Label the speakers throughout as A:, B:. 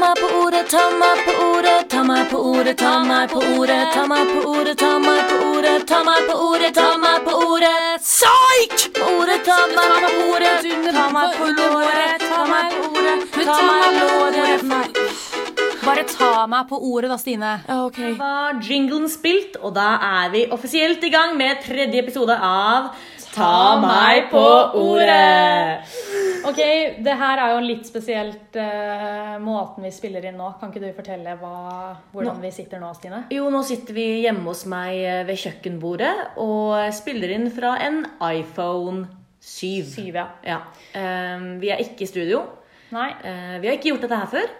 A: meg på ordet, ta meg på ordet, ta meg på ordet, ta meg på ordet, ta meg på ordet, ta meg på ordet, ta meg på ordet, ta meg på ordet. Psyk! På ordet, ta meg på ordet, ta meg på låret, ta meg på ordet, ta meg på låret. Nei.
B: Bare ta meg på ordet da, Stine.
A: Ja, ok.
C: var jinglen spilt, og da er vi offisielt i gang med tredje episode av Ta meg på ordet.
B: Ok, det her er jo en litt spesielt eh, måten vi spiller inn nå. Kan ikke du fortelle hva, hvordan vi sitter nå, Stine?
C: Jo, nå sitter vi hjemme hos meg eh, ved kjøkkenbordet og spiller inn fra en iPhone 7.
B: Syv, ja.
C: Ja. Ehm, vi er ikke i studio.
B: Nei.
C: Eh, vi har ikke gjort dette her før.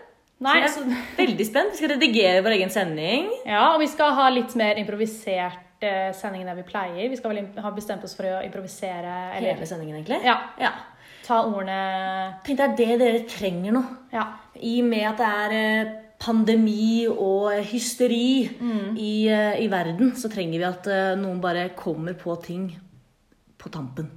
B: Nei, altså,
C: så jeg er veldig spent. Vi skal redigere vår egen sending.
B: Ja, og vi skal ha litt mer improvisert eh, sending enn det vi pleier. Vi skal vel im- ha bestemt oss for å improvisere eller
C: Hele sendingen, egentlig.
B: Ja.
C: ja.
B: ta ordene
C: Tenk, det er det dere trenger nå.
B: Ja.
C: I og med at det er eh, pandemi og eh, hysteri i, eh, i verden, så trenger vi at eh, noen bare kommer på ting på tampen.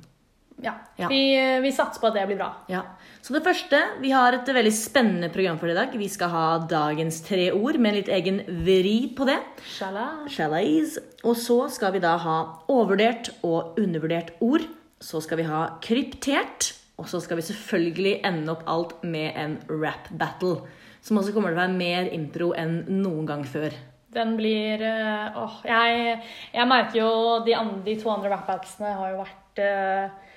B: ja.
C: Ja.
B: Vi, eh, vi satser på at det blir bra.
C: Ja. Så det første, vi har et veldig spennende program for i dag. Vi skal ha dagens tre ord med en litt egen vri på det.
B: Shala.
C: Shalais. Og så skal vi da ha overvurdert og undervurdert ord. Så skal vi ha kryptert. Og så skal vi selvfølgelig ende opp alt med en rap battle. Som også kommer til å være mer impro enn noen gang før.
B: Den blir eh, Åh, jeg, jeg merker jo de, andre, de to andre rap-batsene har jo vært eh,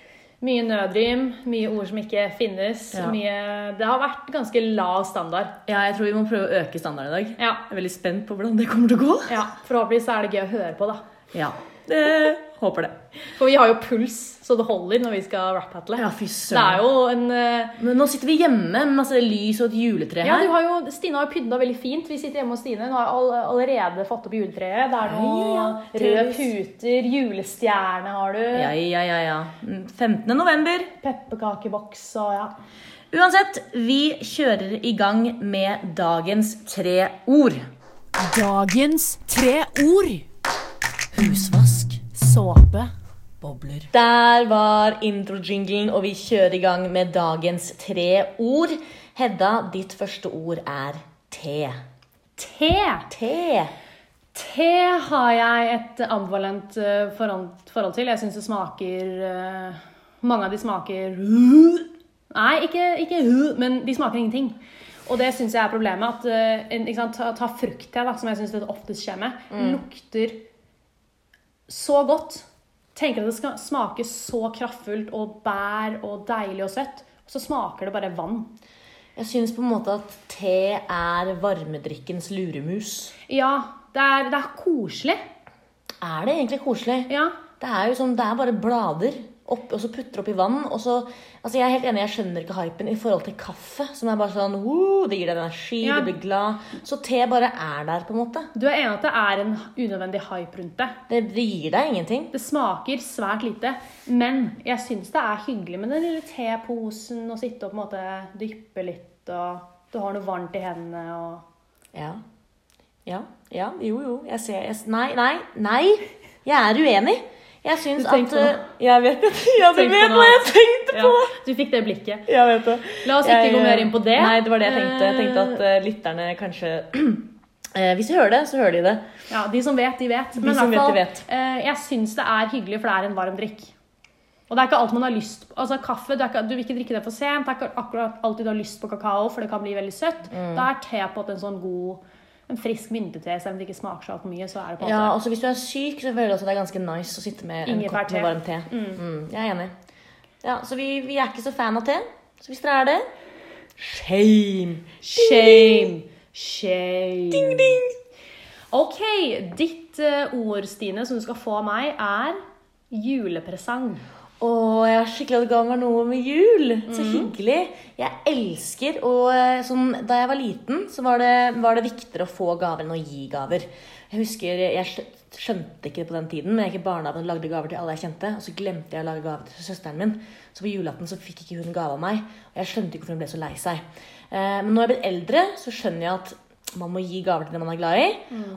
B: mye nødrim, mye ord som ikke finnes.
C: Ja.
B: Mye, det har vært ganske lav standard.
C: Ja, jeg tror vi må prøve å øke standarden i dag.
B: Ja.
C: Jeg er veldig spent på hvordan det kommer til å gå.
B: ja. Forhåpentligvis er det gøy å høre på, da.
C: Ja, det håper det.
B: For vi har jo puls, så det holder når vi skal rap-battle.
C: Ja, fy
B: det er
C: søren.
B: jo en eh,
C: Men nå sitter vi hjemme med masse lys og et juletre
B: Ja,
C: her.
B: du har jo, Stine har jo pynta veldig fint. Vi sitter hjemme hos Stine. Hun har all, allerede fått opp juletreet. Det er noe
C: Ja,
B: røde
C: trus.
B: puter, julestjerne har du,
C: ja, ja, ja, ja. 15. november.
B: pepperkakeboks og ja.
C: Uansett, vi kjører i gang med dagens tre ord.
A: Dagens tre ord. Husvask. Såpe. Bobler.
C: Der var introjinglen, og vi kjører i gang med dagens tre ord. Hedda, ditt første ord er te.
B: Te.
C: Te.
B: Te har jeg et ambivalent eh, forhold, forhold til. Jeg syns det smaker eh, Mange av de smaker Nei, ikke, ikke men de smaker ingenting. Og det syns jeg er problemet. At eh, en- ikke sant, ta, ta frukt-te, da, som jeg syns det oftest skjer med, lukter så godt. Tenker at det skal smake så kraftfullt og bær og deilig og søtt. Og så smaker det bare vann.
C: Jeg syns på en måte at te er varmedrikkens luremus.
B: Ja, det er, det er koselig.
C: Er det egentlig koselig?
B: Ja.
C: Det er jo sånn, det er bare blader. Opp, og så putter opp i vann. og så, altså Jeg er helt enig, jeg skjønner ikke hypen i forhold til kaffe. Som er bare sånn «Woo, Det gir deg energi,
B: Ja.
C: du blir glad. Så te bare er der, på en måte.
B: Du er enig at det er en unødvendig hype rundt det.
C: Det, det gir deg ingenting.
B: Det smaker svært lite, men jeg syns det er hyggelig med den lille teposen og sitte og på en måte dyppe litt og du har noe varmt i hendene og
C: Ja. Ja. ja jo, jo. Jeg ser jeg, s- Nei, nei, nei! Jeg er uenig. Jeg syns
B: Du tenkte
C: at
B: på
C: eh, Jeg vet det. Ja, du
B: Tenkte på
C: vet
B: noe
C: hva jeg tenkte
B: ja,
C: på!
B: Du fikk det blikket.
C: Jeg vet det.
B: La oss ikke
C: Jeg, eh,
B: gå mer inn på det.
C: Nei, det var det jeg tenkte. Jeg tenkte at
B: Eh,
C: eh, lytterne kanskje Eh, Hvis de hører det, så hører de det.
B: Eh, Ja, De som vet, de vet. i
C: som
B: hvert fall,
C: vet, de
B: eh, jeg syns det er hyggelig, for det er en varm drikk. Og det er ikke alt man har lyst på. Altså kaffe, du, er ikke, du vil ikke drikke det for sent. Det er ikke akkurat alltid du har lyst på kakao, for det kan bli veldig søtt.
C: Mm.
B: Da er te på en sånn god en frisk myntete, selv om det ikke smaker så altfor mye. så er det på en
C: Ja,
B: måte...
C: også Hvis du er syk, så føler jeg også det er ganske nice å sitte med en kopp
B: Ingefærte.
C: med varm te. Mm, jeg er enig. Ja, Så vi, vi er ikke så fan av te. Så hvis dere er det Shame!
B: Shame. Shame. Ding, ding. Ok, ditt eh, ord, Stine, som du skal få av meg, er julepresang.
C: Å, jeg har skikkelig hatt gang med noe med jul. Så hyggelig. Jeg elsker å eh, sånn, Da jeg var liten, så var det, var det viktigere å få gaver enn å gi gaver. Jeg husker, jeg skjø- skjønte ikke det på den tiden, men jeg gikk i barnehagen og lagde gaver til alle jeg kjente. Og så glemte jeg å lage gaver til søsteren min. Så på julaften så fikk ikke hun gave av meg. Og jeg skjønte ikke hvorfor hun ble så lei seg. Eh, Men når jeg er blitt eldre, så skjønner jeg at man må gi gaver til det man er glad i.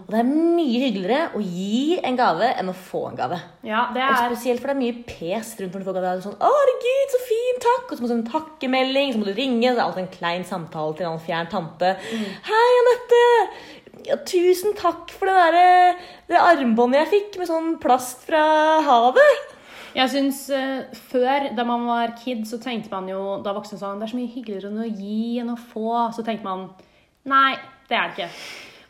C: Og det er mye hyggeligere å gi en gave enn å få en gave.
B: Ja, det er
C: Og spesielt for det er mye pes rundt når du får gave. Det er Sånn, 'Å, herregud, så fin, takk!' Og så må du sende en takkemelding, så må du ringe. Så er det alltid en klein samtale til en annen fjern tante. 'Hei, Anette! Ja, tusen takk for det derre det armbåndet jeg fikk med sånn plast fra havet.'
B: Jeg syns eh, før, da man var kid, så tenkte man jo Da voksne sa det er så mye hyggeligere enn å gi enn å få, så tenkte man nei, det er det ikke.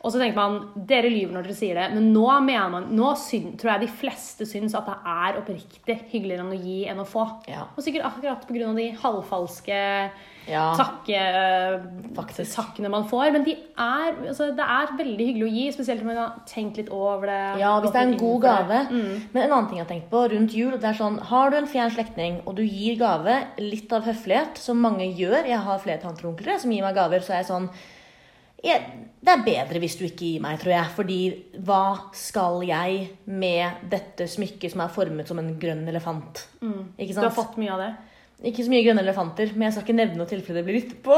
B: Og så tenkte man dere lyver når dere sier det, men nå, mener man, nå syn, tror jeg de fleste syns at det er oppriktig hyggeligere enn å gi enn å få.
C: Ja.
B: Og sikkert akkurat pga. de halvfalske
C: Ja.
B: takke, eh,
C: Faktisk.
B: takkene man får. Men de er, altså, det er veldig hyggelig å gi, spesielt når man har tenkt litt over det.
C: Ja, hvis
B: gått
C: det er en
B: litt inn
C: god
B: for det. Mm.
C: gave. Men en annen ting jeg har tenkt på rundt jul, det er sånn Har du en fjern slektning, og du gir gave litt av høflighet, som mange gjør Jeg har flere tanter og onkler jeg, som gir meg gaver, så er jeg sånn jeg, Det er bedre hvis du ikke gir meg, tror jeg. Fordi hva skal jeg med dette smykket som er formet som en grønn elefant? Ikke
B: Mm. Du har
C: sant?
B: fått mye av det?
C: Ikke så mye grønne elefanter, men jeg skal ikke nevne noe tilfelle det blir lyttet på.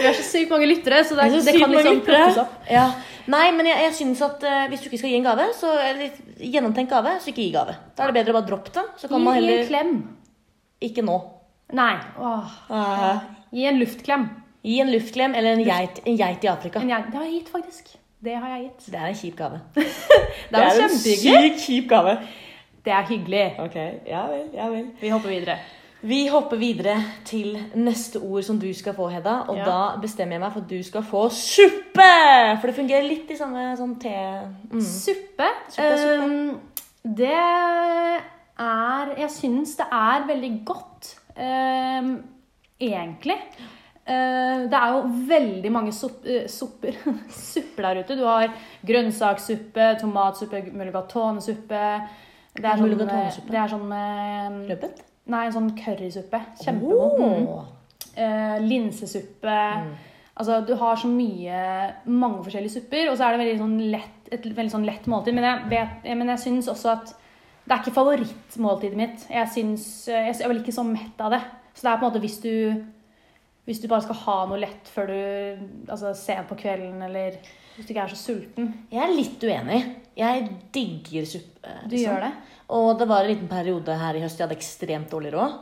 B: Vi har så sykt mange lyttere, så det,
C: Det,
B: det kan liksom plukkes opp.
C: Ja. Nei, men jeg, jeg synes at eh, hvis du ikke skal gi en gave, så eller, gjennomtenkt gave, så ikke gi gave. Da er det bedre å bare droppe det. Så kan man
B: Gi en
C: heller
B: klem.
C: Ikke nå.
B: Nei. Åh. Gi en luftklem.
C: Gi en luftklem eller en geit, en geit i Afrika.
B: En jeg, det har jeg gitt, faktisk. Det har jeg gitt.
C: Det er en kjip gave.
B: Det er jo kjempehyggelig.
C: sykt kjip gave.
B: Det er hyggelig.
C: Ok, ja vel, ja vel.
B: Vi hopper videre.
C: Vi hopper videre til neste ord som du skal få, Hedda. Og
B: Ja.
C: da bestemmer jeg meg for at du skal få suppe! For det fungerer litt i samme sånn te... Mm.
B: Suppe.
C: Suppe, suppe.
B: Ehm, det er Jeg syns det er veldig godt, ehm, egentlig. Eh, det er jo veldig mange sopp, eh, sopper supper der ute. Du har grønnsakssuppe, tomatsuppe, mulligatonesuppe det er, sånn,
C: Mulligatonesuppe?
B: det er sånn eh,
C: Løpet?
B: Nei, en sånn currysuppe. Kjempegod. Mm.
C: Åh.
B: Eh, linsesuppe Altså, du har så mye mange forskjellige supper, og så er det veldig sånn lett, et veldig sånn lett måltid. Men jeg, vet, eh, men jeg syns også at det er ikke favorittmåltidet mitt. Jeg, syns, eh, jeg er vel ikke så mett av det. Så det er på en måte hvis du, hvis du bare skal ha noe lett før du Altså sent på kvelden, eller hvis du ikke er så sulten.
C: Jeg er litt uenig. Jeg digger suppe.
B: Du gjør det?
C: Og det var en liten periode her i høst jeg hadde ekstremt dårlig råd.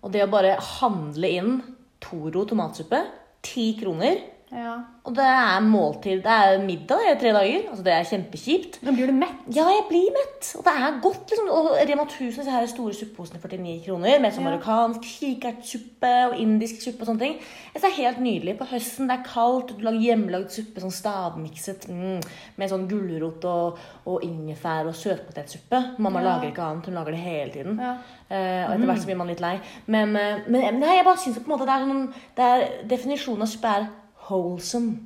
C: Og det å bare handle inn Toro tomatsuppe, ti kroner
B: Ja.
C: Og det er måltid. Det er middag i tre dager. Altså, det er kjempekjipt.
B: Men blir du mett?
C: Ja, jeg blir mett. Og det er godt. liksom. Og Rema 1000 disse her store suppeposene 49 kroner. Med sånn
B: Ja.
C: marokkansk kikertsuppe og indisk suppe og sånne ting. Jeg synes Det er helt nydelig. På høsten, det er kaldt, du lager hjemmelagd suppe sånn stavmikset mm, med sånn gulrot og, og ingefær og søtpotetsuppe. Mamma
B: Ja.
C: lager ikke annet, hun lager det hele tiden.
B: Ja. Mm.
C: Eh, og etter hvert så blir man litt lei. Men, eh, men, men nei, jeg bare syns på en måte det er noen det er, Definisjonen av suppe er wholesome.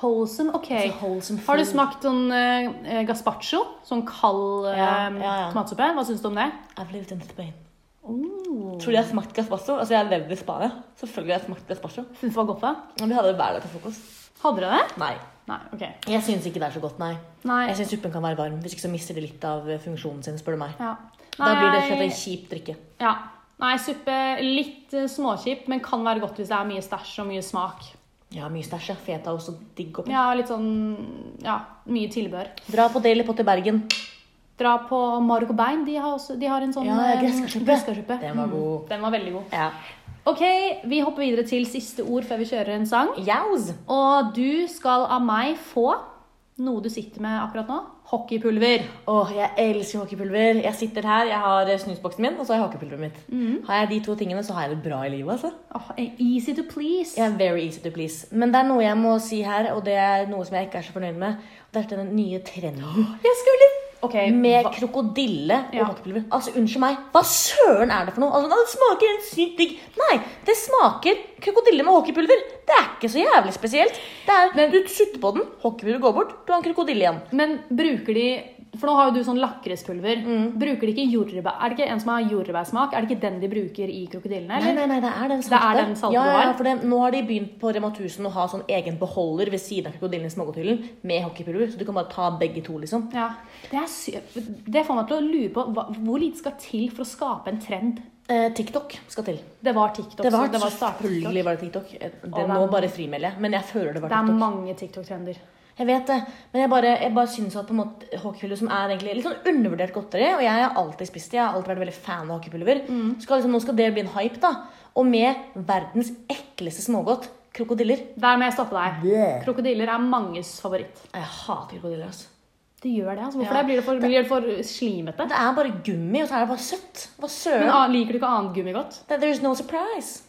B: Wholesome? OK.
C: Altså, wholesome
B: Har du
C: food.
B: smakt sånn eh, gazpacho? Sånn kald eh,
C: Ja, ja, ja.
B: tomatsuppe? Hva syns du om det?
C: I've lived in Spain. Tror du jeg har smakt gazpacho? Altså, jeg har levd i Spania. Selvfølgelig har jeg smakt gazpacho.
B: Syns du det var godt, da?
C: Men vi hadde det hver dag til frokost.
B: Hadde dere det?
C: Nei.
B: Nei, ok.
C: Jeg syns ikke det er så godt, nei.
B: Nei.
C: Jeg syns suppen kan være varm. Hvis ikke så mister det litt av eh, funksjonen sin, spør du meg.
B: Ja.
C: Da blir det rett og slett
B: Nei,
C: en kjip drikke.
B: ja. Nei, suppe litt eh, småkjipt, men kan være godt hvis det er mye stæsj og mye smak.
C: Ja, mye stæsj. ja. Feta er også digg oppi.
B: Ja, litt sånn Ja, mye tilbehør.
C: Dra på Daily Pot i Bergen.
B: Dra på Marok og Bein. De har, også, de har en sånn
C: Ja,
B: eh,
C: greskarsuppe.
B: greskarsuppe.
C: Den var
B: Mm,
C: god.
B: Den var veldig god.
C: Ja.
B: OK, vi hopper videre til siste ord før vi kjører en sang.
C: Yaus.
B: Og du skal av meg få noe du sitter med akkurat nå. Hockeypulver.
C: Åh, jeg elsker hockeypulver. Jeg sitter her, jeg har eh, snusboksen min, og så har jeg hockeypulveret mitt.
B: Mm.
C: Har jeg de to tingene, så har jeg det bra i livet, altså.
B: Åh, e- easy to please.
C: Jeg er very easy to please. Men det er noe jeg må si her, og det er noe som jeg ikke er så fornøyd med. Og det er den nye trenden
B: Jeg skulle Ok,
C: med
B: hva-
C: krokodille og
B: Ja.
C: hockeypulver. Altså, unnskyld meg, hva søren er det for noe? Altså, det smaker helt sykt digg. Nei, det smaker krokodille med hockeypulver. Det er ikke så jævlig spesielt. Det er,
B: Men-
C: du sutter på den, hockeypulver går bort, du har en krokodille igjen.
B: Men bruker de For nå har jo du sånn lakrispulver.
C: Mm.
B: Bruker de ikke jordbær? Er det ikke en som har jordbærsmak? Er det ikke den de bruker i krokodillene?
C: Nei,
B: Eller?
C: nei, nei, det er den
B: Det
C: salte.
B: er den salte
C: ja,
B: du
C: ja,
B: har.
C: ja, for det, nå har de begynt på Rema 1000 å ha sånn egen beholder ved siden av krokodillen i smågodthyllen med hockeypulver. Så du kan bare ta begge to, liksom.
B: Ja. Det, er sy det får meg til å lure på hva, hvor lite skal til for å skape en trend.
C: Eh, TikTok skal til.
B: Det var TikTok.
C: Det var,
B: så det var startet på TikTok.
C: selvfølgelig var det TikTok. Eh,
B: det
C: Det
B: er
C: må
B: mange-
C: bare frimeldet, men jeg føler det var
B: Det er
C: TikTok.
B: mange TikTok-trender.
C: Jeg vet det, men jeg bare, jeg bare syns at på en måte hockeypulver, som er egentlig litt sånn undervurdert godteri, og jeg har alltid spist det, jeg har alltid vært veldig fan av hockeypulver,
B: Mm.
C: skal liksom, nå skal det bli en hype, da. Og med verdens ekleste smågodt, krokodiller.
B: Der må jeg stoppe deg.
C: Yeah.
B: Krokodiller er manges favoritt.
C: Jeg hater krokodiller, altså.
B: Det gjør det, altså. Hvorfor
C: Ja.
B: det? Blir det for, blir det for slimete?
C: Det er bare gummi, og så er det bare søtt. Hva
B: Men
C: søren?
B: ah, liker du ikke annet gummi godt?
C: Det- There's no surprise.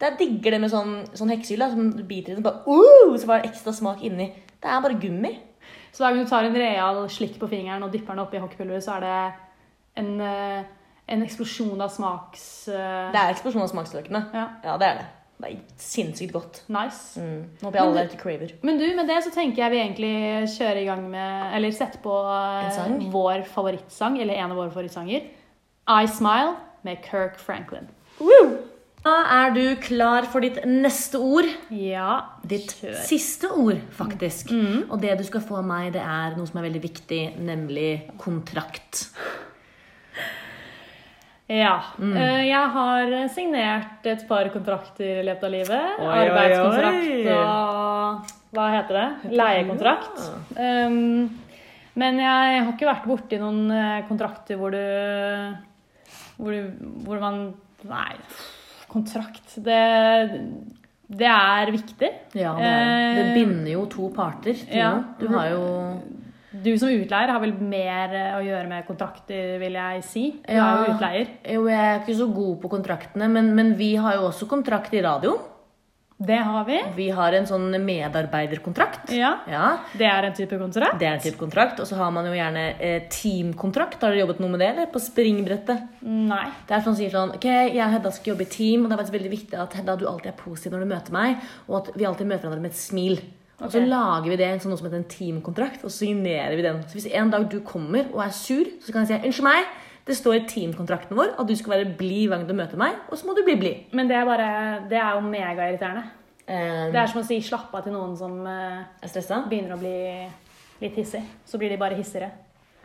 C: Det er digger det med sånn, sånn heksehylle, som du biter i den, bare, uh, så var det ekstra smak inni. Det er bare gummi.
B: Så hver gang du tar en real slikk på fingeren og dypper den oppi hockeypulveret, så er det en, eh, en eksplosjon av smaks... eh,
C: Det er eksplosjon av smaksløkene.
B: Ja.
C: det er det. Det er sinnssykt godt.
B: Nice.
C: Mm. Nå blir alle
B: Men
C: der ute craver.
B: Men du, med det så tenker jeg vi egentlig kjører i gang med Eller setter på eh,
C: En sang?
B: vår favorittsang, eller en av våre favorittsanger. I Smile med Kirk Franklin.
C: Da er du klar for ditt neste ord.
B: Ja,
C: Ditt
B: kjør.
C: siste ord, faktisk. Og det du skal få av meg, det er noe som er veldig viktig, nemlig kontrakt.
B: Ja.
C: Mm.
B: Eh, Jeg har signert et par kontrakter i løpet av livet.
C: Oi, oi, oi.
B: Arbeidskontrakt og hva heter det? Leiekontrakt. Um, men jeg har ikke vært borti noen eh, kontrakter hvor du Hvor, du, hvor man Nei, kontrakt Det, det er viktig.
C: Ja, det, er, det
B: Eh,
C: binder jo to parter. Til
B: ja.
C: noe. Du har jo
B: Du som utleier har vel mer eh, å gjøre med kontrakter, vil jeg si. Du
C: Ja.
B: er jo utleier.
C: Jo, jeg er ikke så god på kontraktene, men, men vi har jo også kontrakt i radio.
B: Det har vi.
C: Vi har en sånn medarbeiderkontrakt.
B: Ja.
C: ja.
B: Det er en type kontrakt.
C: Det er en type kontrakt. Og så har man jo gjerne eh, teamkontrakt. Har dere jobbet noe med det? eller? På springbrettet.
B: Nei.
C: Det er sånn som sier sånn Ok, jeg og Hedda skal jobbe i team, og det er faktisk veldig viktig at Hedda, du alltid er positiv når du møter meg, og at vi alltid møter hverandre med et smil. Og så
B: Ok.
C: lager vi det en sånn noe som heter en teamkontrakt, og så signerer vi den. Så hvis en dag du kommer og er sur, så kan jeg si unnskyld meg, det står i teamkontrakten vår at du skal være blid hver gang du møter meg, og så må du bli blid.
B: Men det er bare Det er jo megairriterende. Det
C: Eh,
B: er som å si 'slapp av' til noen som eh,
C: er stressa?
B: begynner å bli litt hissig. Så blir de bare hissigere.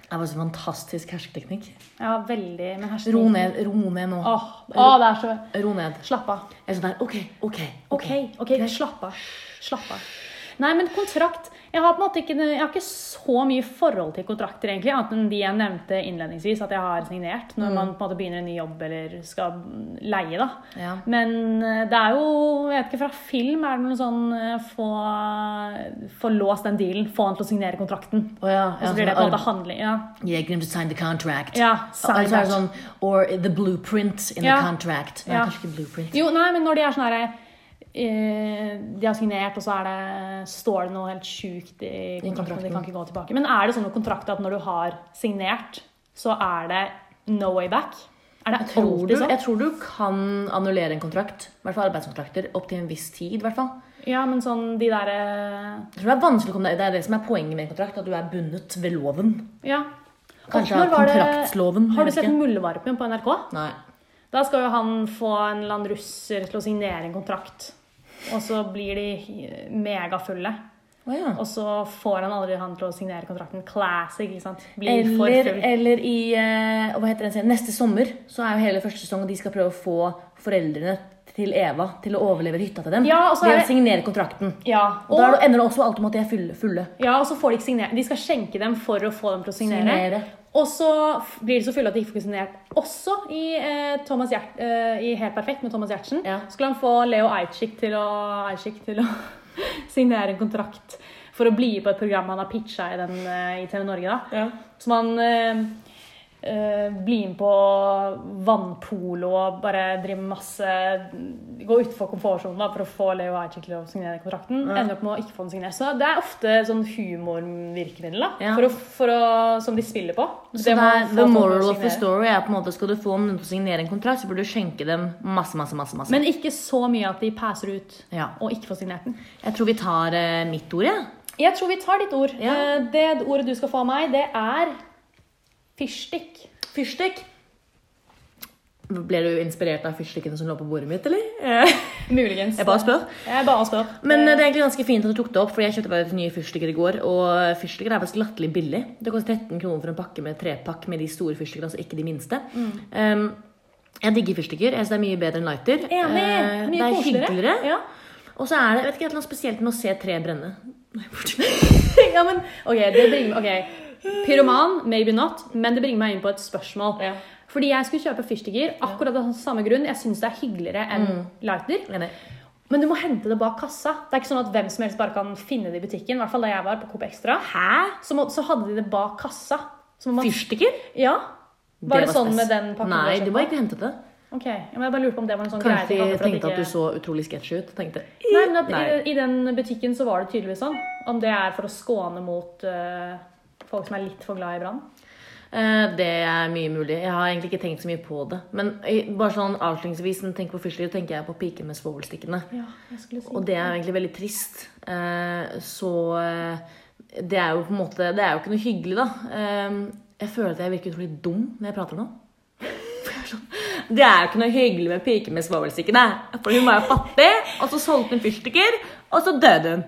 C: Det var så fantastisk hersketeknikk.
B: Ja, veldig Men hersen
C: Ro ned, ro ned nå.
B: Åh, åh, det er så
C: Ro ned.
B: Slapp av.
C: Jeg er sånn der, ok, ok,
B: OK, ok, slapp av. Slapp av. Nei, men kontrakt Jeg har på en måte ikke, jeg har ikke så mye forhold til kontrakter, egentlig, annet enn de jeg nevnte innledningsvis, at jeg har signert
C: Mm.
B: når man på en måte begynner en ny jobb eller skal leie, da.
C: Ja.
B: Men eh, det er jo Jeg vet ikke, fra film er det noe sånn eh, Få, få låst den dealen, få han til å signere kontrakten.
C: Å ja, sånn
B: Og så blir det på en måte handling. Ja.
C: Yeah, get him to sign the contract.
B: Ja, sign
C: Eller så er det
B: that.
C: sånn, or the blueprint in
B: Ja.
C: the contract. Nei,
B: Ja.
C: kanskje ikke blueprint.
B: Jo, nei, men når de er sånn herre eh, De har signert, og så er det, står det noe helt sjukt i kontrakten. De
C: kontrakten.
B: kan ikke gå tilbake. Men er det sånn med kontrakter at når du har signert, så er det no way back? Er det
C: Jeg tror, du,
B: alltid sånn?
C: jeg tror du kan annullere en kontrakt, i hvert fall arbeidskontrakter, opp til en viss tid. i hvert fall.
B: Ja, men sånn de derre eh,
C: Jeg tror Det er vanskelig å komme deg- det er det som er poenget med en kontrakt, at du er bundet ved loven.
B: Ja.
C: Kanskje
B: Og når var det-
C: kontraktsloven,
B: Har du
C: jeg vet
B: sett Muldvarpen på NRK?
C: Nei.
B: Da skal jo han få en eller annen russer til å signere en kontrakt. Og så blir de megafulle.
C: Å ja.
B: Og så får han aldri han til å signere kontrakten. Classic, ikke sant? Blir for
C: Eller,
B: full.
C: eller i eh, hva heter den serien? Neste sommer så er jo hele første sesong, og de skal prøve å få foreldrene til Eva til å overleve hytta til dem.
B: Ja, og så er
C: ved
B: det-
C: å signere kontrakten.
B: Ja,
C: Og,
B: og,
C: da er det- ender det også alltid med at de er fulle. fulle.
B: ja, og så får de ikke signere. De skal skjenke dem for å få dem til å signere.
C: Signere.
B: Og så f- blir de så fulle at de ikke får signert. Også i, eh, Thomas Gjert, eh, i Helt perfekt med Thomas Gjertsen
C: Ja.
B: skulle han få Leo Ajcik til å, Ajcik til å signere en kontrakt for å bli på et program han har pitcha i, den, eh, i TV Norge. da. Som han eh, eh, blir med på vannpolo og bare driver med masse Går utenfor komfortsonen da, for å få Leo Ajcik til å signere kontrakten. Ender opp med å ikke få den signert. Så det er ofte sånn humorvirkemiddel da,
C: Ja.
B: for å, for å, som de spiller på.
C: Så det
B: må
C: er,
B: få
C: the
B: folk til å
C: moral of the
B: signere.
C: story er på en måte skal du få noen til å signere en kontrakt, så burde du skjenke dem masse, masse, masse. masse.
B: Men ikke så mye at de passer ut
C: Ja.
B: og ikke får signert den.
C: Jeg tror vi tar eh, mitt ord, jeg.
B: Jeg tror vi tar ditt ord.
C: Ja.
B: Eh, Det ordet du skal få av meg, det er fyrstikk.
C: Ja. Fyrstikk. Ble du inspirert av fyrstikkene som lå på bordet mitt, eller? Eh,
B: Muligens.
C: Jeg bare spør.
B: Jeg bare spør.
C: Men eh, det er egentlig ganske fint at du tok det opp, for jeg kjøpte bare nye fyrstikker i går. Og fyrstikker er faktisk latterlig
B: Mm.
C: billig. Det koster 13 kroner for en pakke med trepakk med de store fyrstikkene, altså ikke de minste. Um, Jeg digger fyrstikker. Jeg synes det er mye bedre enn lighter.
B: Enig!
C: Eh,
B: Mye
C: det er
B: koseligere.
C: hyggeligere.
B: Ja.
C: Og så er det vet ikke, et eller annet spesielt med å se tre brenne. Nei, borti-
B: ja, men ok, det bringer meg ok. Pyroman, maybe not, men det bringer meg inn på et spørsmål.
C: Ja.
B: Fordi jeg skulle kjøpe fyrstikker akkurat av samme grunn. Jeg syns det er hyggeligere enn
C: Mm.
B: lighter.
C: Enig.
B: Men du må hente det bak kassa. Det er ikke sånn at hvem som helst bare kan finne det i butikken. I hvert fall da jeg var på Coop Extra.
C: Hæ?
B: Så, må, så hadde de det bak kassa. Så må man,
C: Fyrstikker?
B: ja. Var det, sånn
C: spes.
B: med den pakken?
C: Nei,
B: du har
C: du var
B: kjøpt?
C: ikke hentet det.
B: Ok, ja, men jeg bare lurte på om det var en sånn greie.
C: Kanskje
B: de
C: de
B: hadde for
C: tenkte
B: ikke-
C: at du så utrolig sketsjy ut. Tenkte
B: Nei, men at
C: Nei.
B: I, I den butikken så var det tydeligvis sånn. Om det er for å skåne mot eh, folk som er litt for glad i brann.
C: Eh, Det er mye mulig. Jeg har egentlig ikke tenkt så mye på det. Men eh, bare sånn avslutningsvis, når jeg tenker på fyrstikker, tenker jeg på piker med svovelstikkene.
B: Ja, jeg skulle si
C: Og det er jo egentlig veldig trist. Eh, Så eh, det er jo på en måte Det er jo ikke noe hyggelig, da. Eh, Jeg føler at jeg virker utrolig dum når jeg prater nå. For jeg er sånn, Det er jo ikke noe hyggelig med piker med svovelstikkene. For hun var jo fattig, og så solgte hun fyrstikker, og så døde hun.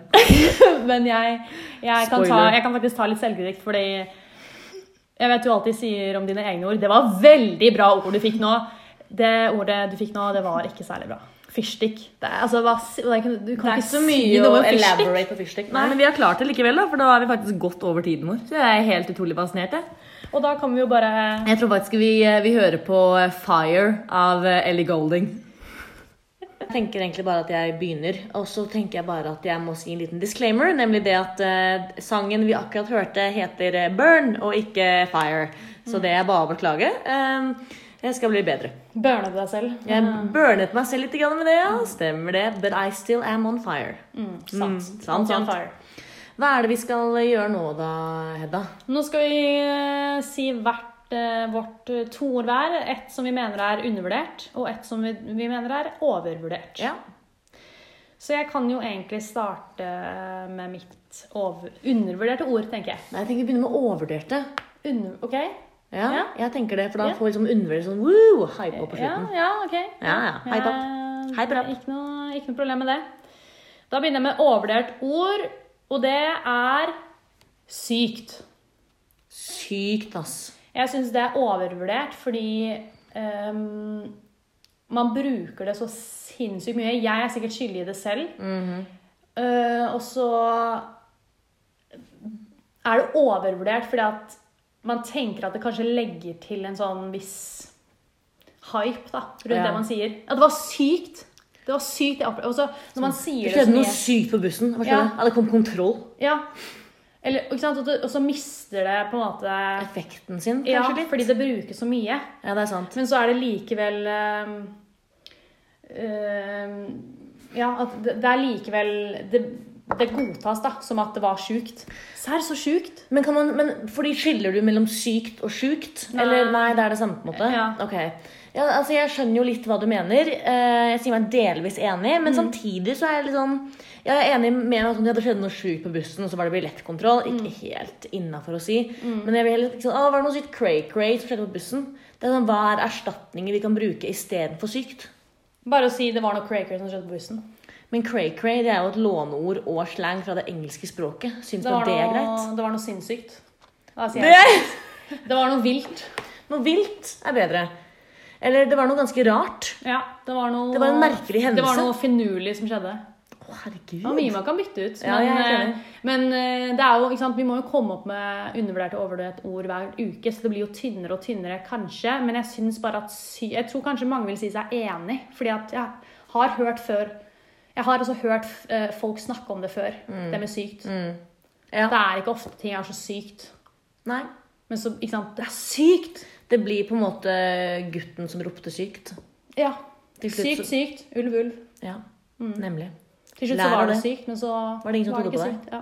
B: Men jeg, jeg, kan ta,
C: Spoiler.
B: jeg kan faktisk ta litt selvkritikk, fordi jeg vet du alltid sier om dine egne ord Det var veldig bra ord du fikk nå. Det ordet du fikk nå, det var ikke særlig bra. Fyrstikk. Det er, altså, hva, si- det er ikke, du kan ikke
C: Det er ikke
B: si
C: så mye
B: noe
C: å
B: om fyrstikk.
C: elaborate på fyrstikk. Nei, men vi har klart det likevel, da, for da er vi faktisk godt over tiden vår. Så jeg er helt utrolig fascinert, jeg.
B: Og da kan vi jo bare
C: Jeg tror faktisk vi, eh, vi hører på Fire av eh, Ellie Golding. Jeg tenker egentlig bare at jeg begynner, og så tenker jeg bare at jeg må si en liten disclaimer, nemlig det at eh, sangen vi akkurat hørte heter eh, Burn og ikke Fire. Så det er bare å beklage. Eh, jeg skal bli bedre.
B: burne deg selv. Mm.
C: Jeg burnet meg selv litt grann med det, ja. Stemmer det. But I still am on fire. Mm,
B: Sant.
C: sant, sant. Hva er det vi skal eh, gjøre nå da, Hedda?
B: Nå skal vi eh, si hvert eh, vårt eh, to ord hver. Ett som vi mener er undervurdert, og ett som vi, vi mener er overvurdert.
C: Ja.
B: Så jeg kan jo egentlig starte med mitt over, undervurderte ord, tenker jeg.
C: Nei, jeg tenker vi begynner med overvurderte.
B: Under, ok?
C: Ja,
B: Ja.
C: jeg tenker det, for da
B: Ja.
C: får vi liksom undervurdert sånn woo, hype opp på
B: Ja,
C: slutten.
B: ja, ok.
C: Ja, ja. Hype up.
B: Ja,
C: Hype it up.
B: Ikke noe, ikke noe problem med det. Da begynner jeg med overvurdert ord, og det er sykt.
C: Sykt, ass.
B: Jeg syns det er overvurdert fordi ehm, man bruker det så sinnssykt mye. Jeg er sikkert skyldig i det selv.
C: Mhm.
B: Eh, og så er det overvurdert fordi at man tenker at det kanskje legger til en sånn viss hype da, rundt
C: Ja.
B: det man sier. Ja, det var sykt! Det var sykt. jeg opplevde- Og så når man sier det
C: Det
B: så
C: skjedde
B: mye
C: noe sykt på bussen. Hva skjedde?
B: Ja.
C: Ja. det kom kontroll.
B: ja. Eller, ikke sant? Og så- Og så mister det på en måte
C: Effekten sin, kanskje
B: Ja,
C: litt.
B: fordi det brukes så mye.
C: Ja, det er sant.
B: Men så er det likevel ehm, ehm, Ja, at det, det er likevel det, det godtas da, som at det var sjukt. Serr, så sjukt!
C: Men, kan man, men fordi skiller du mellom sykt og sjukt?
B: Nei.
C: Eller nei, det er det samme på en måte?
B: Ja.
C: Ok. Ja, altså Jeg skjønner jo litt hva du mener. Eh, Jeg sier meg delvis enig, men samtidig så er jeg litt sånn Jeg er enig med at det skjedde noe sjukt på bussen, og så var det billettkontroll. Ikke helt innafor å si. Men jeg vil heller ikke sånn, å, var det noe sykt cray-cray som skjedde på bussen? Det er sånn, Hva er erstatninger vi kan bruke istedenfor sykt?
B: Bare å si det var noe cracker som skjedde på bussen.
C: Men cray-cray det er jo et låneord og slang fra det engelske språket. Syns
B: Det
C: du
B: var
C: at det er
B: noe,
C: greit?
B: det var noe sinnssykt. Da sier jeg
C: Det!
B: det. det var noe vilt.
C: Noe vilt er bedre. Eller det var noe ganske rart.
B: Ja, det var noe
C: Det var en merkelig hendelse.
B: Det var noe finurlig som skjedde.
C: Å, herregud.
B: Det var mye man kan bytte ut.
C: Ja,
B: Men,
C: jeg er helt
B: eh, men eh, det er jo, ikke sant, vi må jo komme opp med undervurderte og overvurderte ord hver uke, så det blir jo tynnere og tynnere, kanskje. Men jeg synes bare at sy Jeg tror kanskje mange vil si seg enig, fordi at jeg har hørt før Jeg har også hørt eh, folk snakke om det før, det med sykt.
C: Mm. Ja.
B: Det er ikke ofte ting er så sykt.
C: Nei.
B: Men så, ikke sant Det er sykt!
C: Det blir på en måte gutten som ropte sykt.
B: Ja.
C: Til slutt
B: Sykt,
C: så-
B: sykt. Ulv, ulv.
C: Ja,
B: Mm.
C: nemlig.
B: Til slutt
C: Lær
B: så
C: av
B: var det
C: det.
B: sykt, men så
C: Var det ingen som trodde på
B: ikke
C: deg?
B: sykt, Ja.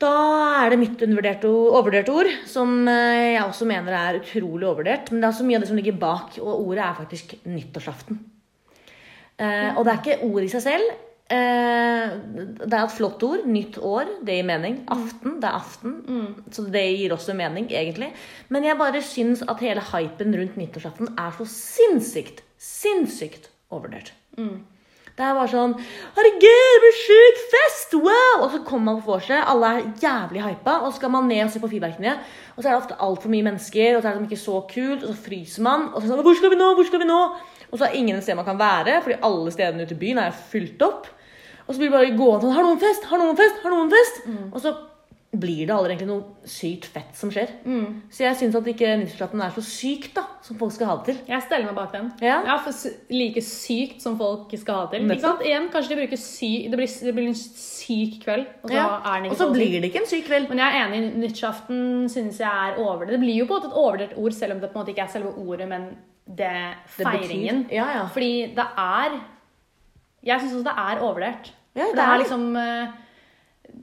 C: Da er det mitt undervurderte og overvurderte ord, som eh, jeg også mener er utrolig overvurdert. Men det er også mye av det som ligger bak, og ordet er faktisk nyttårsaften. Eh, og det er ikke ord i seg selv. Eh, det er et flott ord. Nytt år, det gir mening. Aften, det er aften. Så det gir også mening, egentlig. Men jeg bare syns at hele hypen rundt nyttårsaften er så sinnssykt, sinnssykt overvurdert. Det er bare sånn Herregud, det blir sjuk fest! Wow! Og så kommer man på vorset, alle er jævlig hypa, og så skal man ned og se på fyrverkene. Og så er det ofte altfor mye mennesker, og så er det liksom ikke så kult, og så fryser man. Og så er det sånn Hvor skal vi nå? Hvor skal vi nå? Og så er det ingen et sted man kan være, fordi alle stedene ute i byen er fylt opp. Og så blir det bare gående sånn Har noen fest? Har noen fest? Har noen fest? Og så blir det aldri egentlig noe sykt fett som skjer. Så jeg syns at ikke nyttårsaften er så sykt da, som folk skal ha det til.
B: Jeg steller meg bak den.
C: Ja.
B: for s- Like sykt som folk skal ha det til.
C: Nettopp.
B: Ikke sant? Igjen, kanskje de bruker sy det, blir, det blir en syk kveld, og så er den
C: Og
B: ikke
C: så
B: til.
C: blir det ikke en syk kveld.
B: Men jeg er enig, nyttårsaften synes jeg er overdrevet. Det blir jo på en måte et overdrevet ord, selv om det på en måte ikke er selve ordet, men det
C: Det betyr-
B: feiringen.
C: Ja, ja.
B: Fordi det er Jeg syns også det er overvurdert.
C: Ja,
B: For
C: det
B: det
C: er
B: er liksom eh,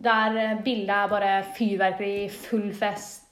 B: Der eh, bildet er bare fyrverkeri, full fest,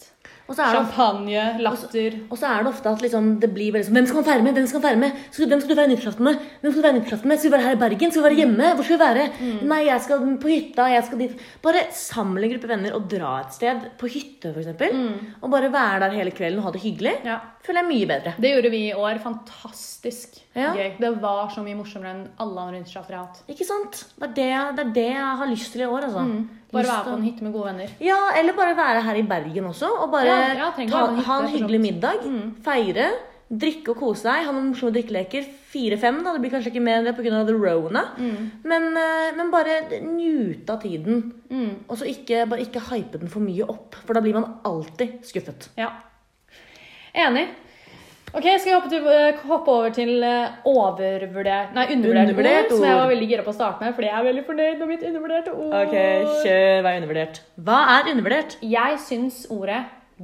C: Og så er det
B: champagne, latter.
C: Og så er det ofte at liksom, det blir veldig sånn Hvem skal man feire med? Hvem skal man feire med? Skal, hvem skal du feire nyttårsaften med? Hvem skal du feire nyttårsaften med? Skal vi være her i Bergen? Skal vi være hjemme? Hvor skal vi være? Nei, jeg skal på hytta. Jeg skal dit. Bare samle en gruppe venner og dra et sted. På hytte, f.eks. eksempel Og bare være der hele kvelden og ha det hyggelig.
B: Ja.
C: Føler jeg er mye bedre.
B: Det gjorde vi i år. Fantastisk
C: Ja.
B: gøy. Det var så mye morsommere enn alle andre nyttårsaftener jeg har hatt.
C: Ikke sant? Det er det, det er det jeg har lyst til i år, altså.
B: Bare
C: Lyst
B: være
C: til
B: på
C: å-
B: en hytte med gode venner.
C: Ja, eller bare være her i Bergen også, og bare
B: Ja, ja, trenger
C: ta,
B: å ha en hytte,
C: ha en
B: for så Mm.
C: hyggelig
B: vidt.
C: middag. Feire, drikke og kose deg. Ha noen morsomme drikkeleker. Fire-fem, da. Det blir kanskje ikke mer enn det pga. the rona.
B: Mm.
C: Men, eh, men bare njute av tiden. Og så ikke, bare ikke hype den for mye opp, for da blir man alltid skuffet.
B: Ja. Enig. Ok, Skal vi hoppe, til, eh, hoppe over til eh, overvurdert Nei, undervurdert,
C: Undervurdert
B: ord, som jeg
C: ord.
B: var veldig gira på å starte med, fordi jeg er veldig fornøyd med mitt undervurderte ord.
C: kjør. Hva er undervurdert? Hva er undervurdert?
B: Jeg syns ordet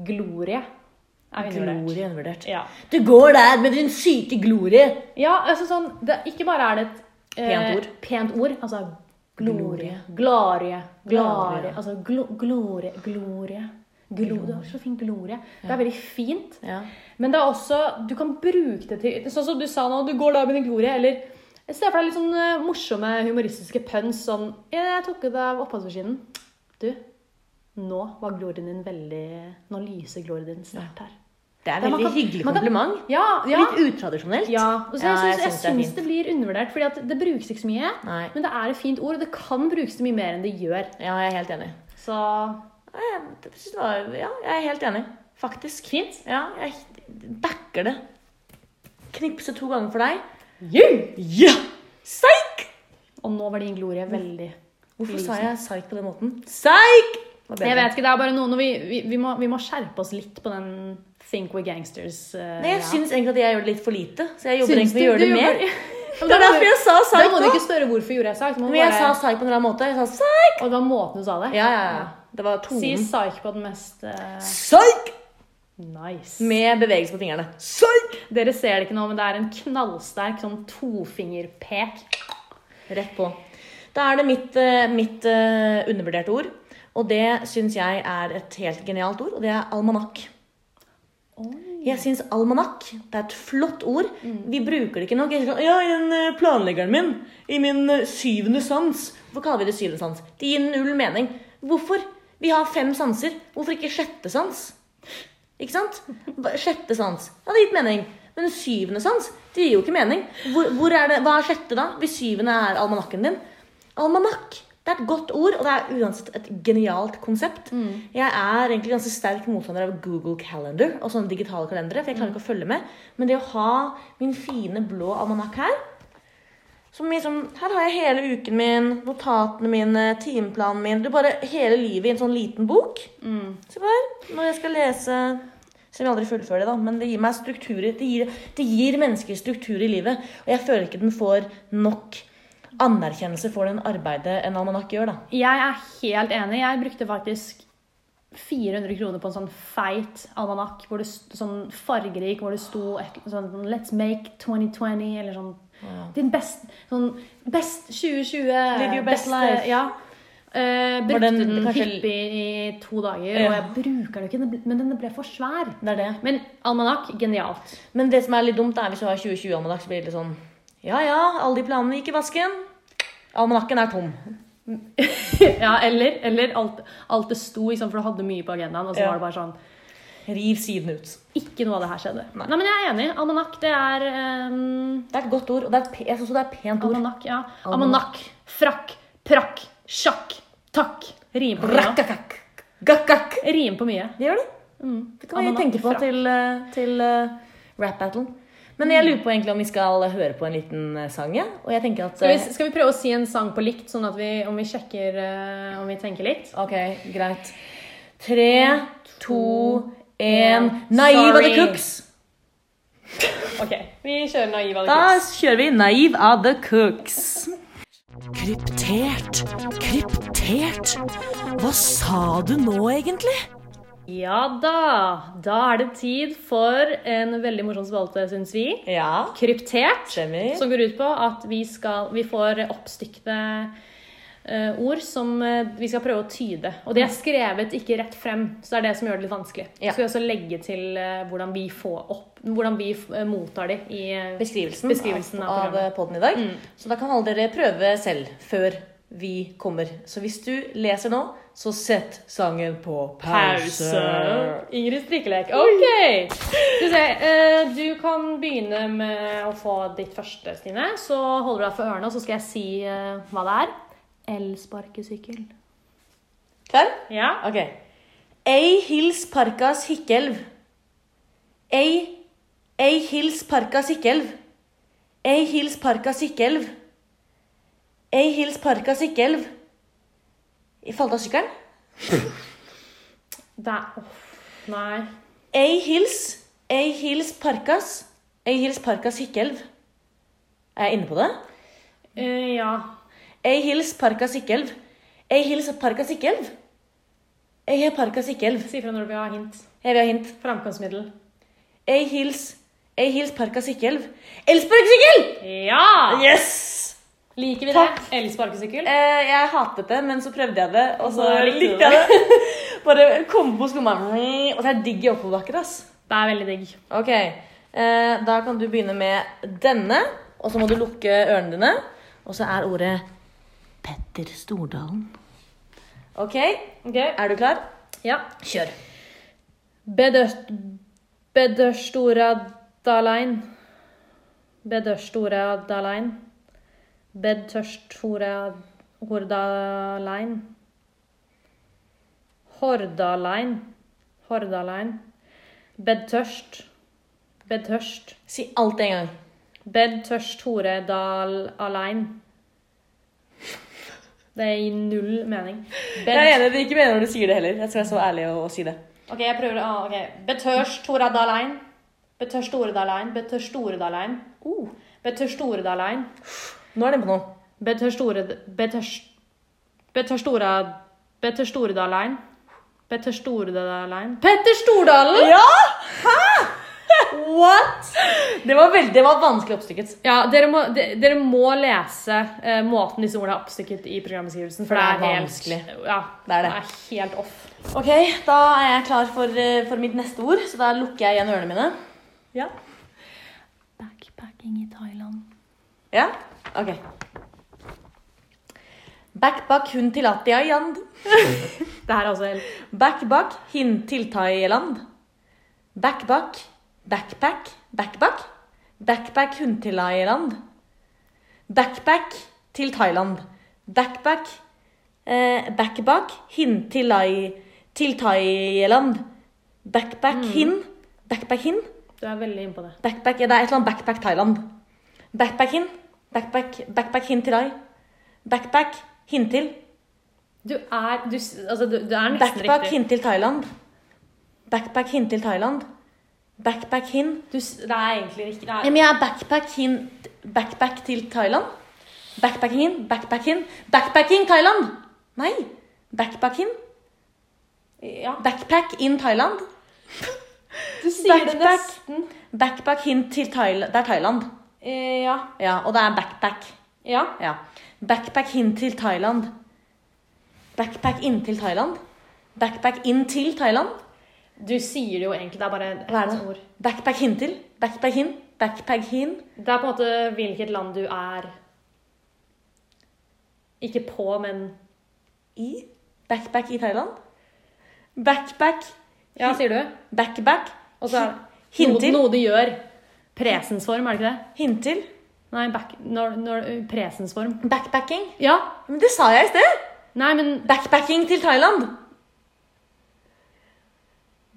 B: glorie er undervurdert.
C: Glorie er undervurdert.
B: Ja.
C: Du går der med din syke glorie.
B: ja, altså sånn det, Ikke bare er det et eh,
C: Pent ord.
B: pent ord, altså glorie,
C: Glorie.
B: glorie, glorie
C: Glorie.
B: Altså glo, glorie, glorie. Glo, det er så fin glorie. Det er veldig fint.
C: Ja.
B: Men det er også, du kan bruke det til Sånn som du sa nå, du går da med din glorie, eller Se for deg litt sånn eh, morsomme, humoristiske pønsk sånn «Ja, Jeg tok det av oppvaskmaskinen. Du, nå var glorien din veldig Nå lyser glorien din sterkt her.
C: Det er
B: Ja,
C: et
B: man
C: veldig
B: kan-
C: hyggelig
B: man kan-
C: kompliment.
B: Ja, ja.
C: Litt utradisjonelt.
B: ja. Og så
C: Ja,
B: jeg syns, jeg
C: det er
B: syns
C: fint.
B: det blir undervurdert, fordi at det brukes ikke så mye.
C: Nei.
B: Men det er et fint ord, og det kan brukes til mye mer enn det gjør.
C: Ja, jeg er helt enig.
B: Så
C: Nei, Jeg, jeg synes det var, ja, jeg er helt enig. Faktisk.
B: fint.
C: Ja, jeg backer det. Knipse to ganger for deg.
B: Yeah!
C: Ja! Seik!
B: Og nå var din glorie veldig
C: Hvorfor
B: lysende.
C: sa jeg seik på den måten? Seik! Det var bedre.
B: Jeg vet ikke, det er bare noe når vi, vi, vi, må, vi må skjerpe oss litt på den Think We're Gangsters. eh,
C: Nei, jeg
B: greia.
C: syns egentlig at jeg gjør det litt for lite, så jeg jobber
B: Syns
C: egentlig med
B: du-
C: å gjøre det
B: du
C: mer.
B: jobber- Ja, men
C: Det er
B: da må
C: derfor
B: du-
C: jeg sa
B: Da
C: seik
B: må du
C: nå.
B: ikke spørre hvorfor gjorde jeg psyk.
C: Men jeg sa seik på en eller annen måte. Jeg sa seik!
B: og det var måten du sa det.
C: Ja, ja, ja. Det var
B: Si
C: tonen.
B: psyk på den mest eh,
C: Seik!
B: nice.
C: Med bevegelse på fingrene. Seik!
B: Dere ser det ikke nå, men det er en knallsterk sånn tofingerpek.
C: Rett på. Da er det mitt, eh, mitt eh, undervurderte ord. Og det syns jeg er et helt genialt ord, og det er almanakk. Jeg syns almanakk det er et flott ord. Vi bruker det ikke nok. Jeg sier sånn, ja, i den eh, planleggeren min, i min eh, syvende sans Hvorfor kaller vi det syvende sans? Det gir null mening. Hvorfor? Vi har fem sanser. Hvorfor ikke sjette sans? Ikke sant? Hva- Sjette sans. Det hadde gitt mening. Men syvende sans det gir jo ikke mening. Hvor, hvor er det, hva er sjette, da? Hvis syvende er almanakken din? Almanakk. Det er et godt ord, og det er uansett et genialt konsept. Jeg er egentlig ganske sterk motstander av Google Calendar og sånne digitale kalendere. for jeg klarer ikke å følge med. Men det å ha min fine, blå almanakk her som liksom, Her har jeg hele uken min, notatene mine, timeplanen min. Du bare Hele livet i en sånn liten bok. Se på her. Når jeg skal lese Selv om jeg aldri fullfører det, da. Men det gir meg strukturer. Det gir, det gir mennesker struktur i livet. Og jeg føler ikke den får nok anerkjennelse for den arbeidet en almanakk gjør, da.
B: Jeg er helt enig. Jeg brukte faktisk 400 kroner på en sånn feit almanakk, hvor det st- sånn fargerik, hvor det sto et, sånn Let's make 2020, eller sånn Din best, sånn, best 2020.
C: Live your best
B: beste-
C: life.
B: Ja. Eh,
C: Var
B: brukte
C: den
B: den,
C: kanskje-
B: hyppig i to dager,
C: Ja.
B: og jeg bruker den jo ikke, den ble- men den ble for svær.
C: Det er det.
B: Men almanakk, genialt.
C: Men det som er litt dumt, er hvis du har 2020-almanakk, så blir det litt sånn Ja ja, alle de planene gikk i vasken. Almanakken er tom.
B: ja, eller, eller alt, alt det sto, ikke sant, for du hadde mye på agendaen, og så
C: Ja.
B: var det bare sånn
C: Riv siden ut.
B: Ikke noe av det her skjedde.
C: Nei.
B: Nei, men jeg er enig. Almanakk, det er eh,
C: Det er et godt ord, og det er et, pe- jeg synes også det er et pent ord.
B: Almanakk, ja.
C: Almanakk.
B: Almanakk, frakk, prakk, sjakk, takk. Rimer på mye.
C: Rakkakakk. Gakkakk.
B: Rimer på mye.
C: Det gjør det.
B: Mm.
C: Det kan vi
B: Ananas
C: tenke på
B: frakk.
C: til, eh, til eh, rap-battlen. Men jeg lurer på egentlig om vi skal høre på en liten eh, sang, ja. Og jeg tenker at
B: Skal vi,
C: eh,
B: skal vi prøve å si en sang på likt, sånn at vi, om vi sjekker eh, om vi tenker likt?
C: Ok, greit. Tre, to, én Naiv of the
B: Sorry.
C: Cooks.
B: Ok, vi kjører naiv
C: Da
B: Alex.
C: kjører vi Naiv of the Cooks.
A: Kryptert. Kryptert. Hva sa du nå, egentlig?
B: Ja da! Da er det tid for en veldig morsom spalte, syns vi.
C: Ja.
B: Kryptert.
C: Stemmer.
B: Som går ut på at vi, skal, vi får oppstykte eh, ord som eh, vi skal prøve å tyde. Og de er skrevet ikke rett frem, så det er det som gjør det litt vanskelig.
C: Ja.
B: Skal vi også legge til eh, hvordan vi får opp Hvordan vi eh, mottar de i eh,
C: beskrivelsen,
B: Beskrivelsen av
C: av,
B: programmet. Mm.
C: av poden i dag. Så da kan alle dere prøve selv før vi kommer. Så hvis du leser nå, så sett sangen på pause.
B: Ingrid strikkelek. Ok! Skal vi se. eh, Du kan begynne med å få ditt første, Stine. Så holder du deg for ørene, og så skal jeg si eh, hva det er. Elsparkesykkel.
C: Klar?
B: Ja.
C: Ok. Ei hils Parkas Hikkelv. Ei Ei hils Parkas Hikkelv. Ei hils Parkas Hikkelv. Ei hils Parkas Hikkelv. Falt av sykkelen?
B: Det er Åh, Nei.
C: Ei hils, ei hils Parkas, ei hils Parkas Hikkelv. Er jeg inne på det?
B: Eh, ja.
C: Ei hils Parkas Hikkelv, ei hils Parkas Hikkelv. Ei hils Parkas Hikkelv.
B: Si fra når du vil ha hint.
C: Jeg vil ha hint.
B: Framkomstmiddel.
C: Ei hils, ei hils Parkas Hikkelv. Elsparkes Hikkel!
B: Ja!
C: Yes!
B: Liker vi det?
C: Takk.
B: Elsparkesykkel.
C: Eh, jeg hatet det, men så prøvde jeg det, og så
B: Så likte du
C: likte jeg det. Bare kom på skumma. Og det er digg i oppoverbakker, ass.
B: Det er veldig digg.
C: Ok, eh, da kan du begynne med denne, og så må du lukke ørene dine. Og så er ordet Petter Stordalen. Ok, er
B: Ok.
C: du klar?
B: Ja.
C: Kjør.
B: Bedørst... Bedørstora dalein. Bedørstora dalein. Bedtørstora hordalein. Hordalein. Hordalein. Bedtørst. Bedtørst.
C: Si alt en gang.
B: Bedtørst Horedal alein. Det gir null mening. Bed-
C: Jeg er enig, det er ikke meningen når du sier det heller. Jeg skal være så ærlig og, og si det.
B: Ok, jeg prøver å ah, ok. Betør Storadalein. Betør Storadalein. Betør Storadalein.
C: Uh,
B: Betør Storadalein.
C: nå er den på noe.
B: Betør Store... Betør S- Betør Stora... Betør Storadalein. Betør Storadalein. Petter Stordalen!
C: Ja! Hæ? What? Det var veldig, det var vanskelig oppstykket.
B: Ja, dere må, de, dere må lese eh, måten disse ordene er oppstykket i programbeskrivelsen, for det er,
C: Det er
B: helt
C: vanskelig.
B: Ja,
C: Det er det.
B: det er helt off.
C: Ok, da er jeg klar for, eh, for mitt neste ord, så da lukker jeg igjen ørene mine. Ja.
B: Backpacking i Thailand.
C: Ja? Ok. Back bak hun til Atialand.
B: Det her er altså helt
C: Back bak hin til Thailand. Back bak, backpack, backpack. Backpack hun til Thailand. Backpack til Thailand. Backpack, eh, backpack hin til, Lai- til Thailand. Backpack hin, backpack hin.
B: Du er veldig inne på det.
C: Backpack, ja, det er et eller annet backpack Thailand. Backpack hin, backpack, backpack hin til deg. Backpack hin til,
B: Du er Du, s- altså, du, du er nesten
C: backpack
B: riktig.
C: hin til Thailand. Backpack hin til Thailand. Backpack hin.
B: Du, s- det er egentlig riktig. Det er-
C: Ja, men jeg er backpack hin, backpack til Thailand. Backpack hin, backpack hin. Backpacking Thailand! Nei, backpack hin.
B: Ja,
C: Backpack in Thailand.
B: du sier det
C: Backpack.
B: nesten.
C: Backpack hin til Thailand. Det er Thailand.
B: Eh, ja.
C: Ja, og det er backpack.
B: ja.
C: Ja. Backpack hin til Thailand. Backpack inn til Thailand. Backpack inn til Thailand.
B: Du sier det jo egentlig. Det er bare ett
C: Hva er det?
B: ord.
C: Backpack hin til. Backpack hin. Backpack hin.
B: Det er på en måte hvilket land du er Ikke på, men
C: I. Backpack i Thailand. Backpack.
B: Ja, sier du?
C: Backback.
B: Og så er
C: Hin
B: Noe,
C: til.
B: noe du gjør. Presensform, er det ikke det?
C: Hin til.
B: Nei, back, når, når, presensform.
C: Backpacking.
B: Ja,
C: Men det sa jeg i sted!
B: Nei, men
C: Backpacking til Thailand.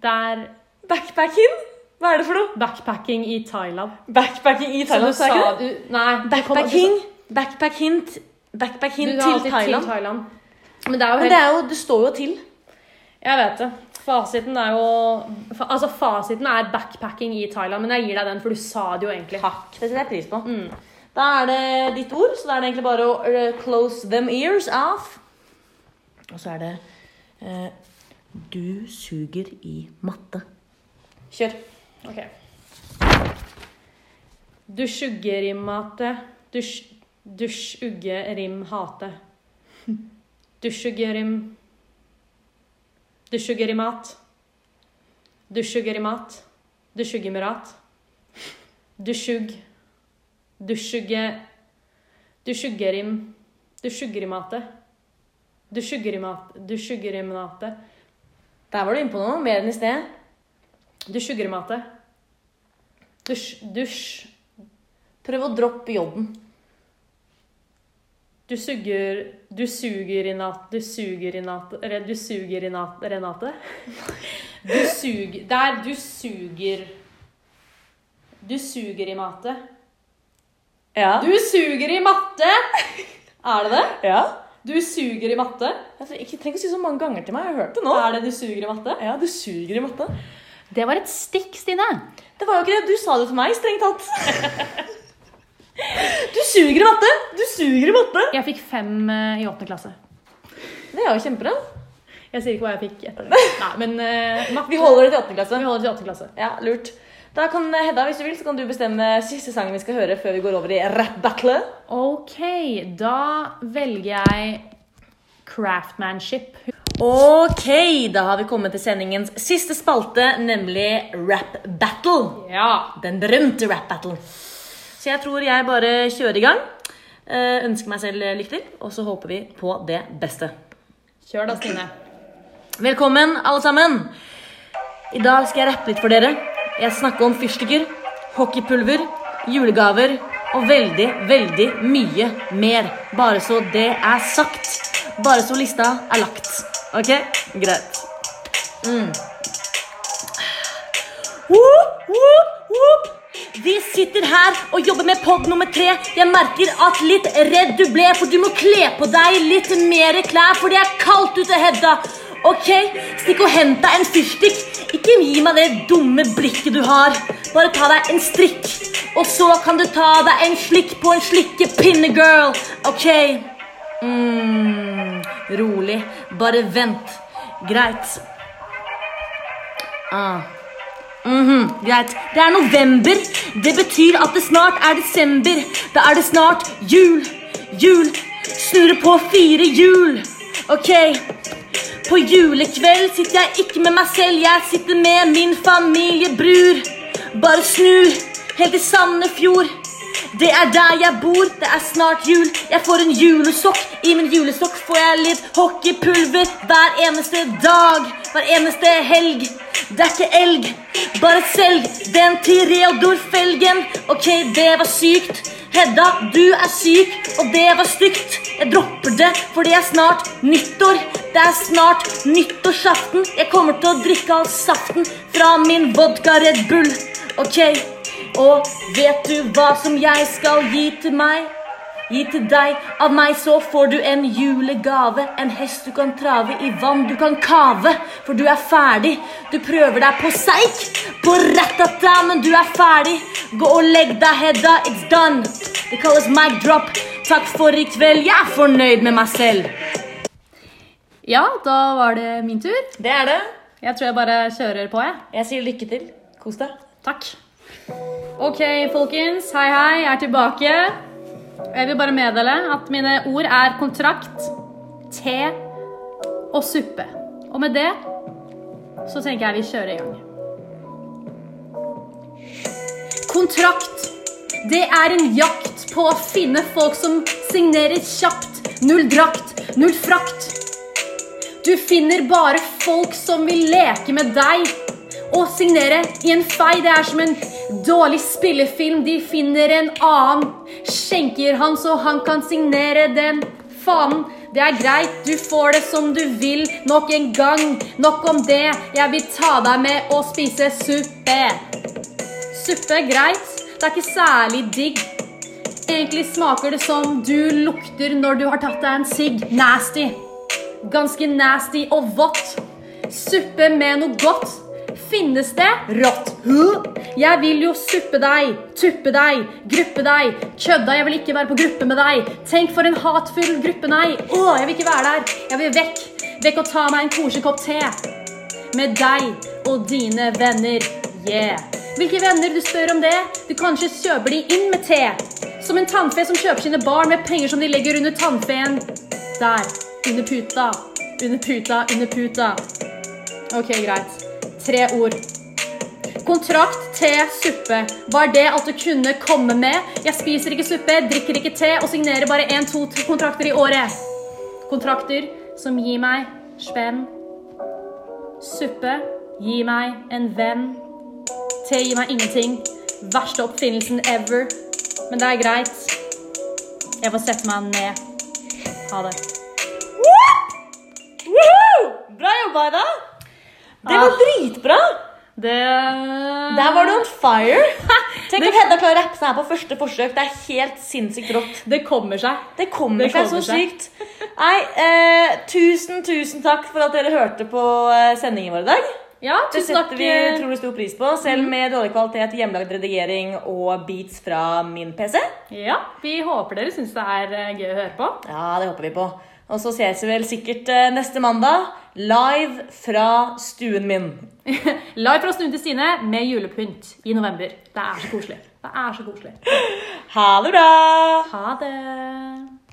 B: det er
C: Backpacking? Hva er det for noe?
B: backpacking i Thailand.
C: Backpacking i Thailand,
B: Så
C: sa jeg ikke det?
B: du Nei. du kom-
C: Backpacking, backpacking, t-
B: Du,
C: backpacking
B: sa
C: til
B: alltid
C: Thailand.
B: til Thailand. Men det er jo
C: Men
B: helt
C: det er jo, det står jo til.
B: Jeg vet det. Fasiten er jo fa- Altså, fasiten er backpacking i Thailand, men jeg gir deg den, for du sa det jo egentlig.
C: Takk, det setter jeg pris på. Da er det ditt ord, så da er det egentlig bare å eh, close them ears off. Og så er det eh, Du suger i matte.
B: Kjør. Ok. Dusjuggerimate. Dusj... Dusjuggerimhate. Dusjuggerim... Dusjuggerimat. Dusjuggerimat. Dusjuggemirat. Dusjugg... Dusjugge... Dusjuggerim... Dusjuggerimate. Dusjuggerimat... Dusjuggerimate.
C: Der var du inne på noe mer enn i sted.
B: Dusjuggerimate. Dusj... Dusj...
C: Prøv å droppe jodden.
B: Du suger Du suger i nat... Du suger i nat... re- Du suger i nat... Renate? Du suger Der, du suger Du suger i matte.
C: Ja.
B: Du suger i matte! Er det det?
C: ja.
B: Du suger i matte?
C: Altså, ikke trenger å si så mange ganger til meg. Jeg har hørt det nå.
B: Er det du suger i matte?
C: Ja, du suger i matte.
B: Det var et stikk, Stine.
C: Det var jo ikke det. Du sa det til meg, strengt tatt. Du suger i matte! Du suger i matte!
B: Jeg fikk fem eh, i åttende klasse.
C: Det er jo kjempebra.
B: Jeg sier ikke hva jeg fikk etter det. Nei, men eh, matte
C: Vi holder det til åttende klasse.
B: Vi holder til åttende klasse.
C: Ja, lurt. Da kan eh, Hedda, hvis du vil, så kan du bestemme siste sangen vi skal høre før vi går over i rap-battle.
B: OK, da velger jeg craftmanship.
C: Ok, da har vi kommet til sendingens siste spalte, nemlig rap-battle.
B: Ja.
C: Den berømte rap-battlen. Så jeg tror jeg bare kjører i gang. Eh, Ønsker meg selv lykke til, og så håper vi på det beste.
B: Kjør da, Stine.
C: Velkommen, alle sammen. I dag skal jeg rappe litt for dere. Jeg snakker om fyrstikker, hockeypulver, julegaver og veldig, veldig mye mer. Bare så det er sagt. Bare så lista er lagt. Ok? Greit. Whoop, whoop, whoop. Vi sitter her og jobber med pod nummer tre. Jeg merker at litt redd du ble, for du må kle på deg litt mer klær, for det er kaldt ute, Hedda. Ok, stikk og hent deg en fyrstikk. Ikke gi meg det dumme blikket du har. Bare ta deg en strikk, og så kan du ta deg en slikk på en slikkepinne, girl. Ok? Mm, rolig. Bare vent. Greit. Ah. Mhm, greit. Det er november. Det betyr at det snart er desember. Da er det snart jul. Jul. Snurre på fire hjul. Ok. På julekveld sitter jeg ikke med meg selv, jeg sitter med min familiebror. Bare snur helt til Sandefjord. Det er der jeg bor, det er snart jul. Jeg får en julesokk. I min julesokk får jeg litt hockeypulver hver eneste dag. Hver eneste helg. Det er ikke elg, bare selg den til Reodor Felgen. Ok, det var sykt. Hedda, du er syk, og det var stygt. Jeg dropper det, for det er snart nyttår. Det er snart nyttårsaften. Jeg kommer til å drikke all saften fra min vodka Red Bull. Ok, og vet du hva som jeg skal gi til meg? Gi til deg, av meg så får du en julegave. En hest du kan trave i vann, du kan kave, for du er ferdig. Du prøver deg på seik, på ratata, men du er ferdig. Gå og legg deg, Hedda, it's done. Det kalles mic drop. Takk for i kveld, jeg er fornøyd med meg selv.
B: Ja, da var det min tur.
C: Det er det.
B: Jeg tror jeg bare kjører på, jeg.
C: Jeg sier lykke til. Kos deg.
B: Takk. Ok, folkens. Hei, hei. Jeg er tilbake. Jeg vil bare meddele at mine ord er kontrakt, te og suppe. Og med det så tenker jeg vi kjører i gang. Kontrakt. Det er en jakt på å finne folk som signerer kjapt. Null drakt, null frakt. Du finner bare folk som vil leke med deg. Å signere i en fei, det er som en dårlig spillefilm. De finner en annen, skjenker han så han kan signere den. Faen, Det er greit, du får det som du vil. Nok en gang. Nok om det. Jeg vil ta deg med og spise suppe. Suppe, greit. Det er ikke særlig digg. Egentlig smaker det som du lukter når du har tatt deg en sigg. Nasty. Ganske nasty og vått. Suppe med noe godt. Finnes det rått? Huh? Jeg vil jo suppe deg, tuppe deg, gruppe deg. Kødda, jeg vil ikke være på gruppe med deg. Tenk for en hatefull gruppe, nei. Åh, jeg vil ikke være der. Jeg vil vekk. Vekk og ta meg en koselig kopp te. Med deg og dine venner, yeah. Hvilke venner du spør om det? Du kanskje kjøper de inn med te. Som en tannfe som kjøper sine barn med penger som de legger under tannfeen. Der. Under puta. Under puta, under puta. Ok, greit. Tre ord. Kontrakt, te, suppe. Var det alt du kunne komme med? Jeg spiser ikke suppe, drikker ikke te og signerer bare én, to tre kontrakter i året. Kontrakter som gir meg spenn Suppe gir meg en venn. Te gir meg ingenting. Verste oppfinnelsen ever. Men det er greit. Jeg får sette meg ned. Ha det.
C: Woohoo! Bra jobba, Ida. Det var
B: Ah.
C: dritbra.
B: Det
C: Der var du on fire. Tenk om Hedda klarer å rappe seg her på første forsøk. Det er helt sinnssykt rått.
B: Det kommer seg.
C: Det kommer
B: Det
C: seg
B: kommer
C: så
B: seg.
C: sykt. Nei, eh, tusen, tusen takk for at dere hørte på eh, sendingen vår i dag.
B: Ja,
C: Det
B: tusen takk. eh, Mm.
C: setter vi utrolig stor pris på, selv med dårlig kvalitet, hjemmelagd redigering og beats fra min PC.
B: Ja, vi håper dere syns det er eh, gøy å høre på.
C: Ja, det håper vi på. Og så ses vi vel sikkert eh, neste mandag, live fra stuen min.
B: Live fra Snuen til Stine med julepynt i november. Det er så koselig. Det er så koselig.
C: Ha det bra!
B: Ha det.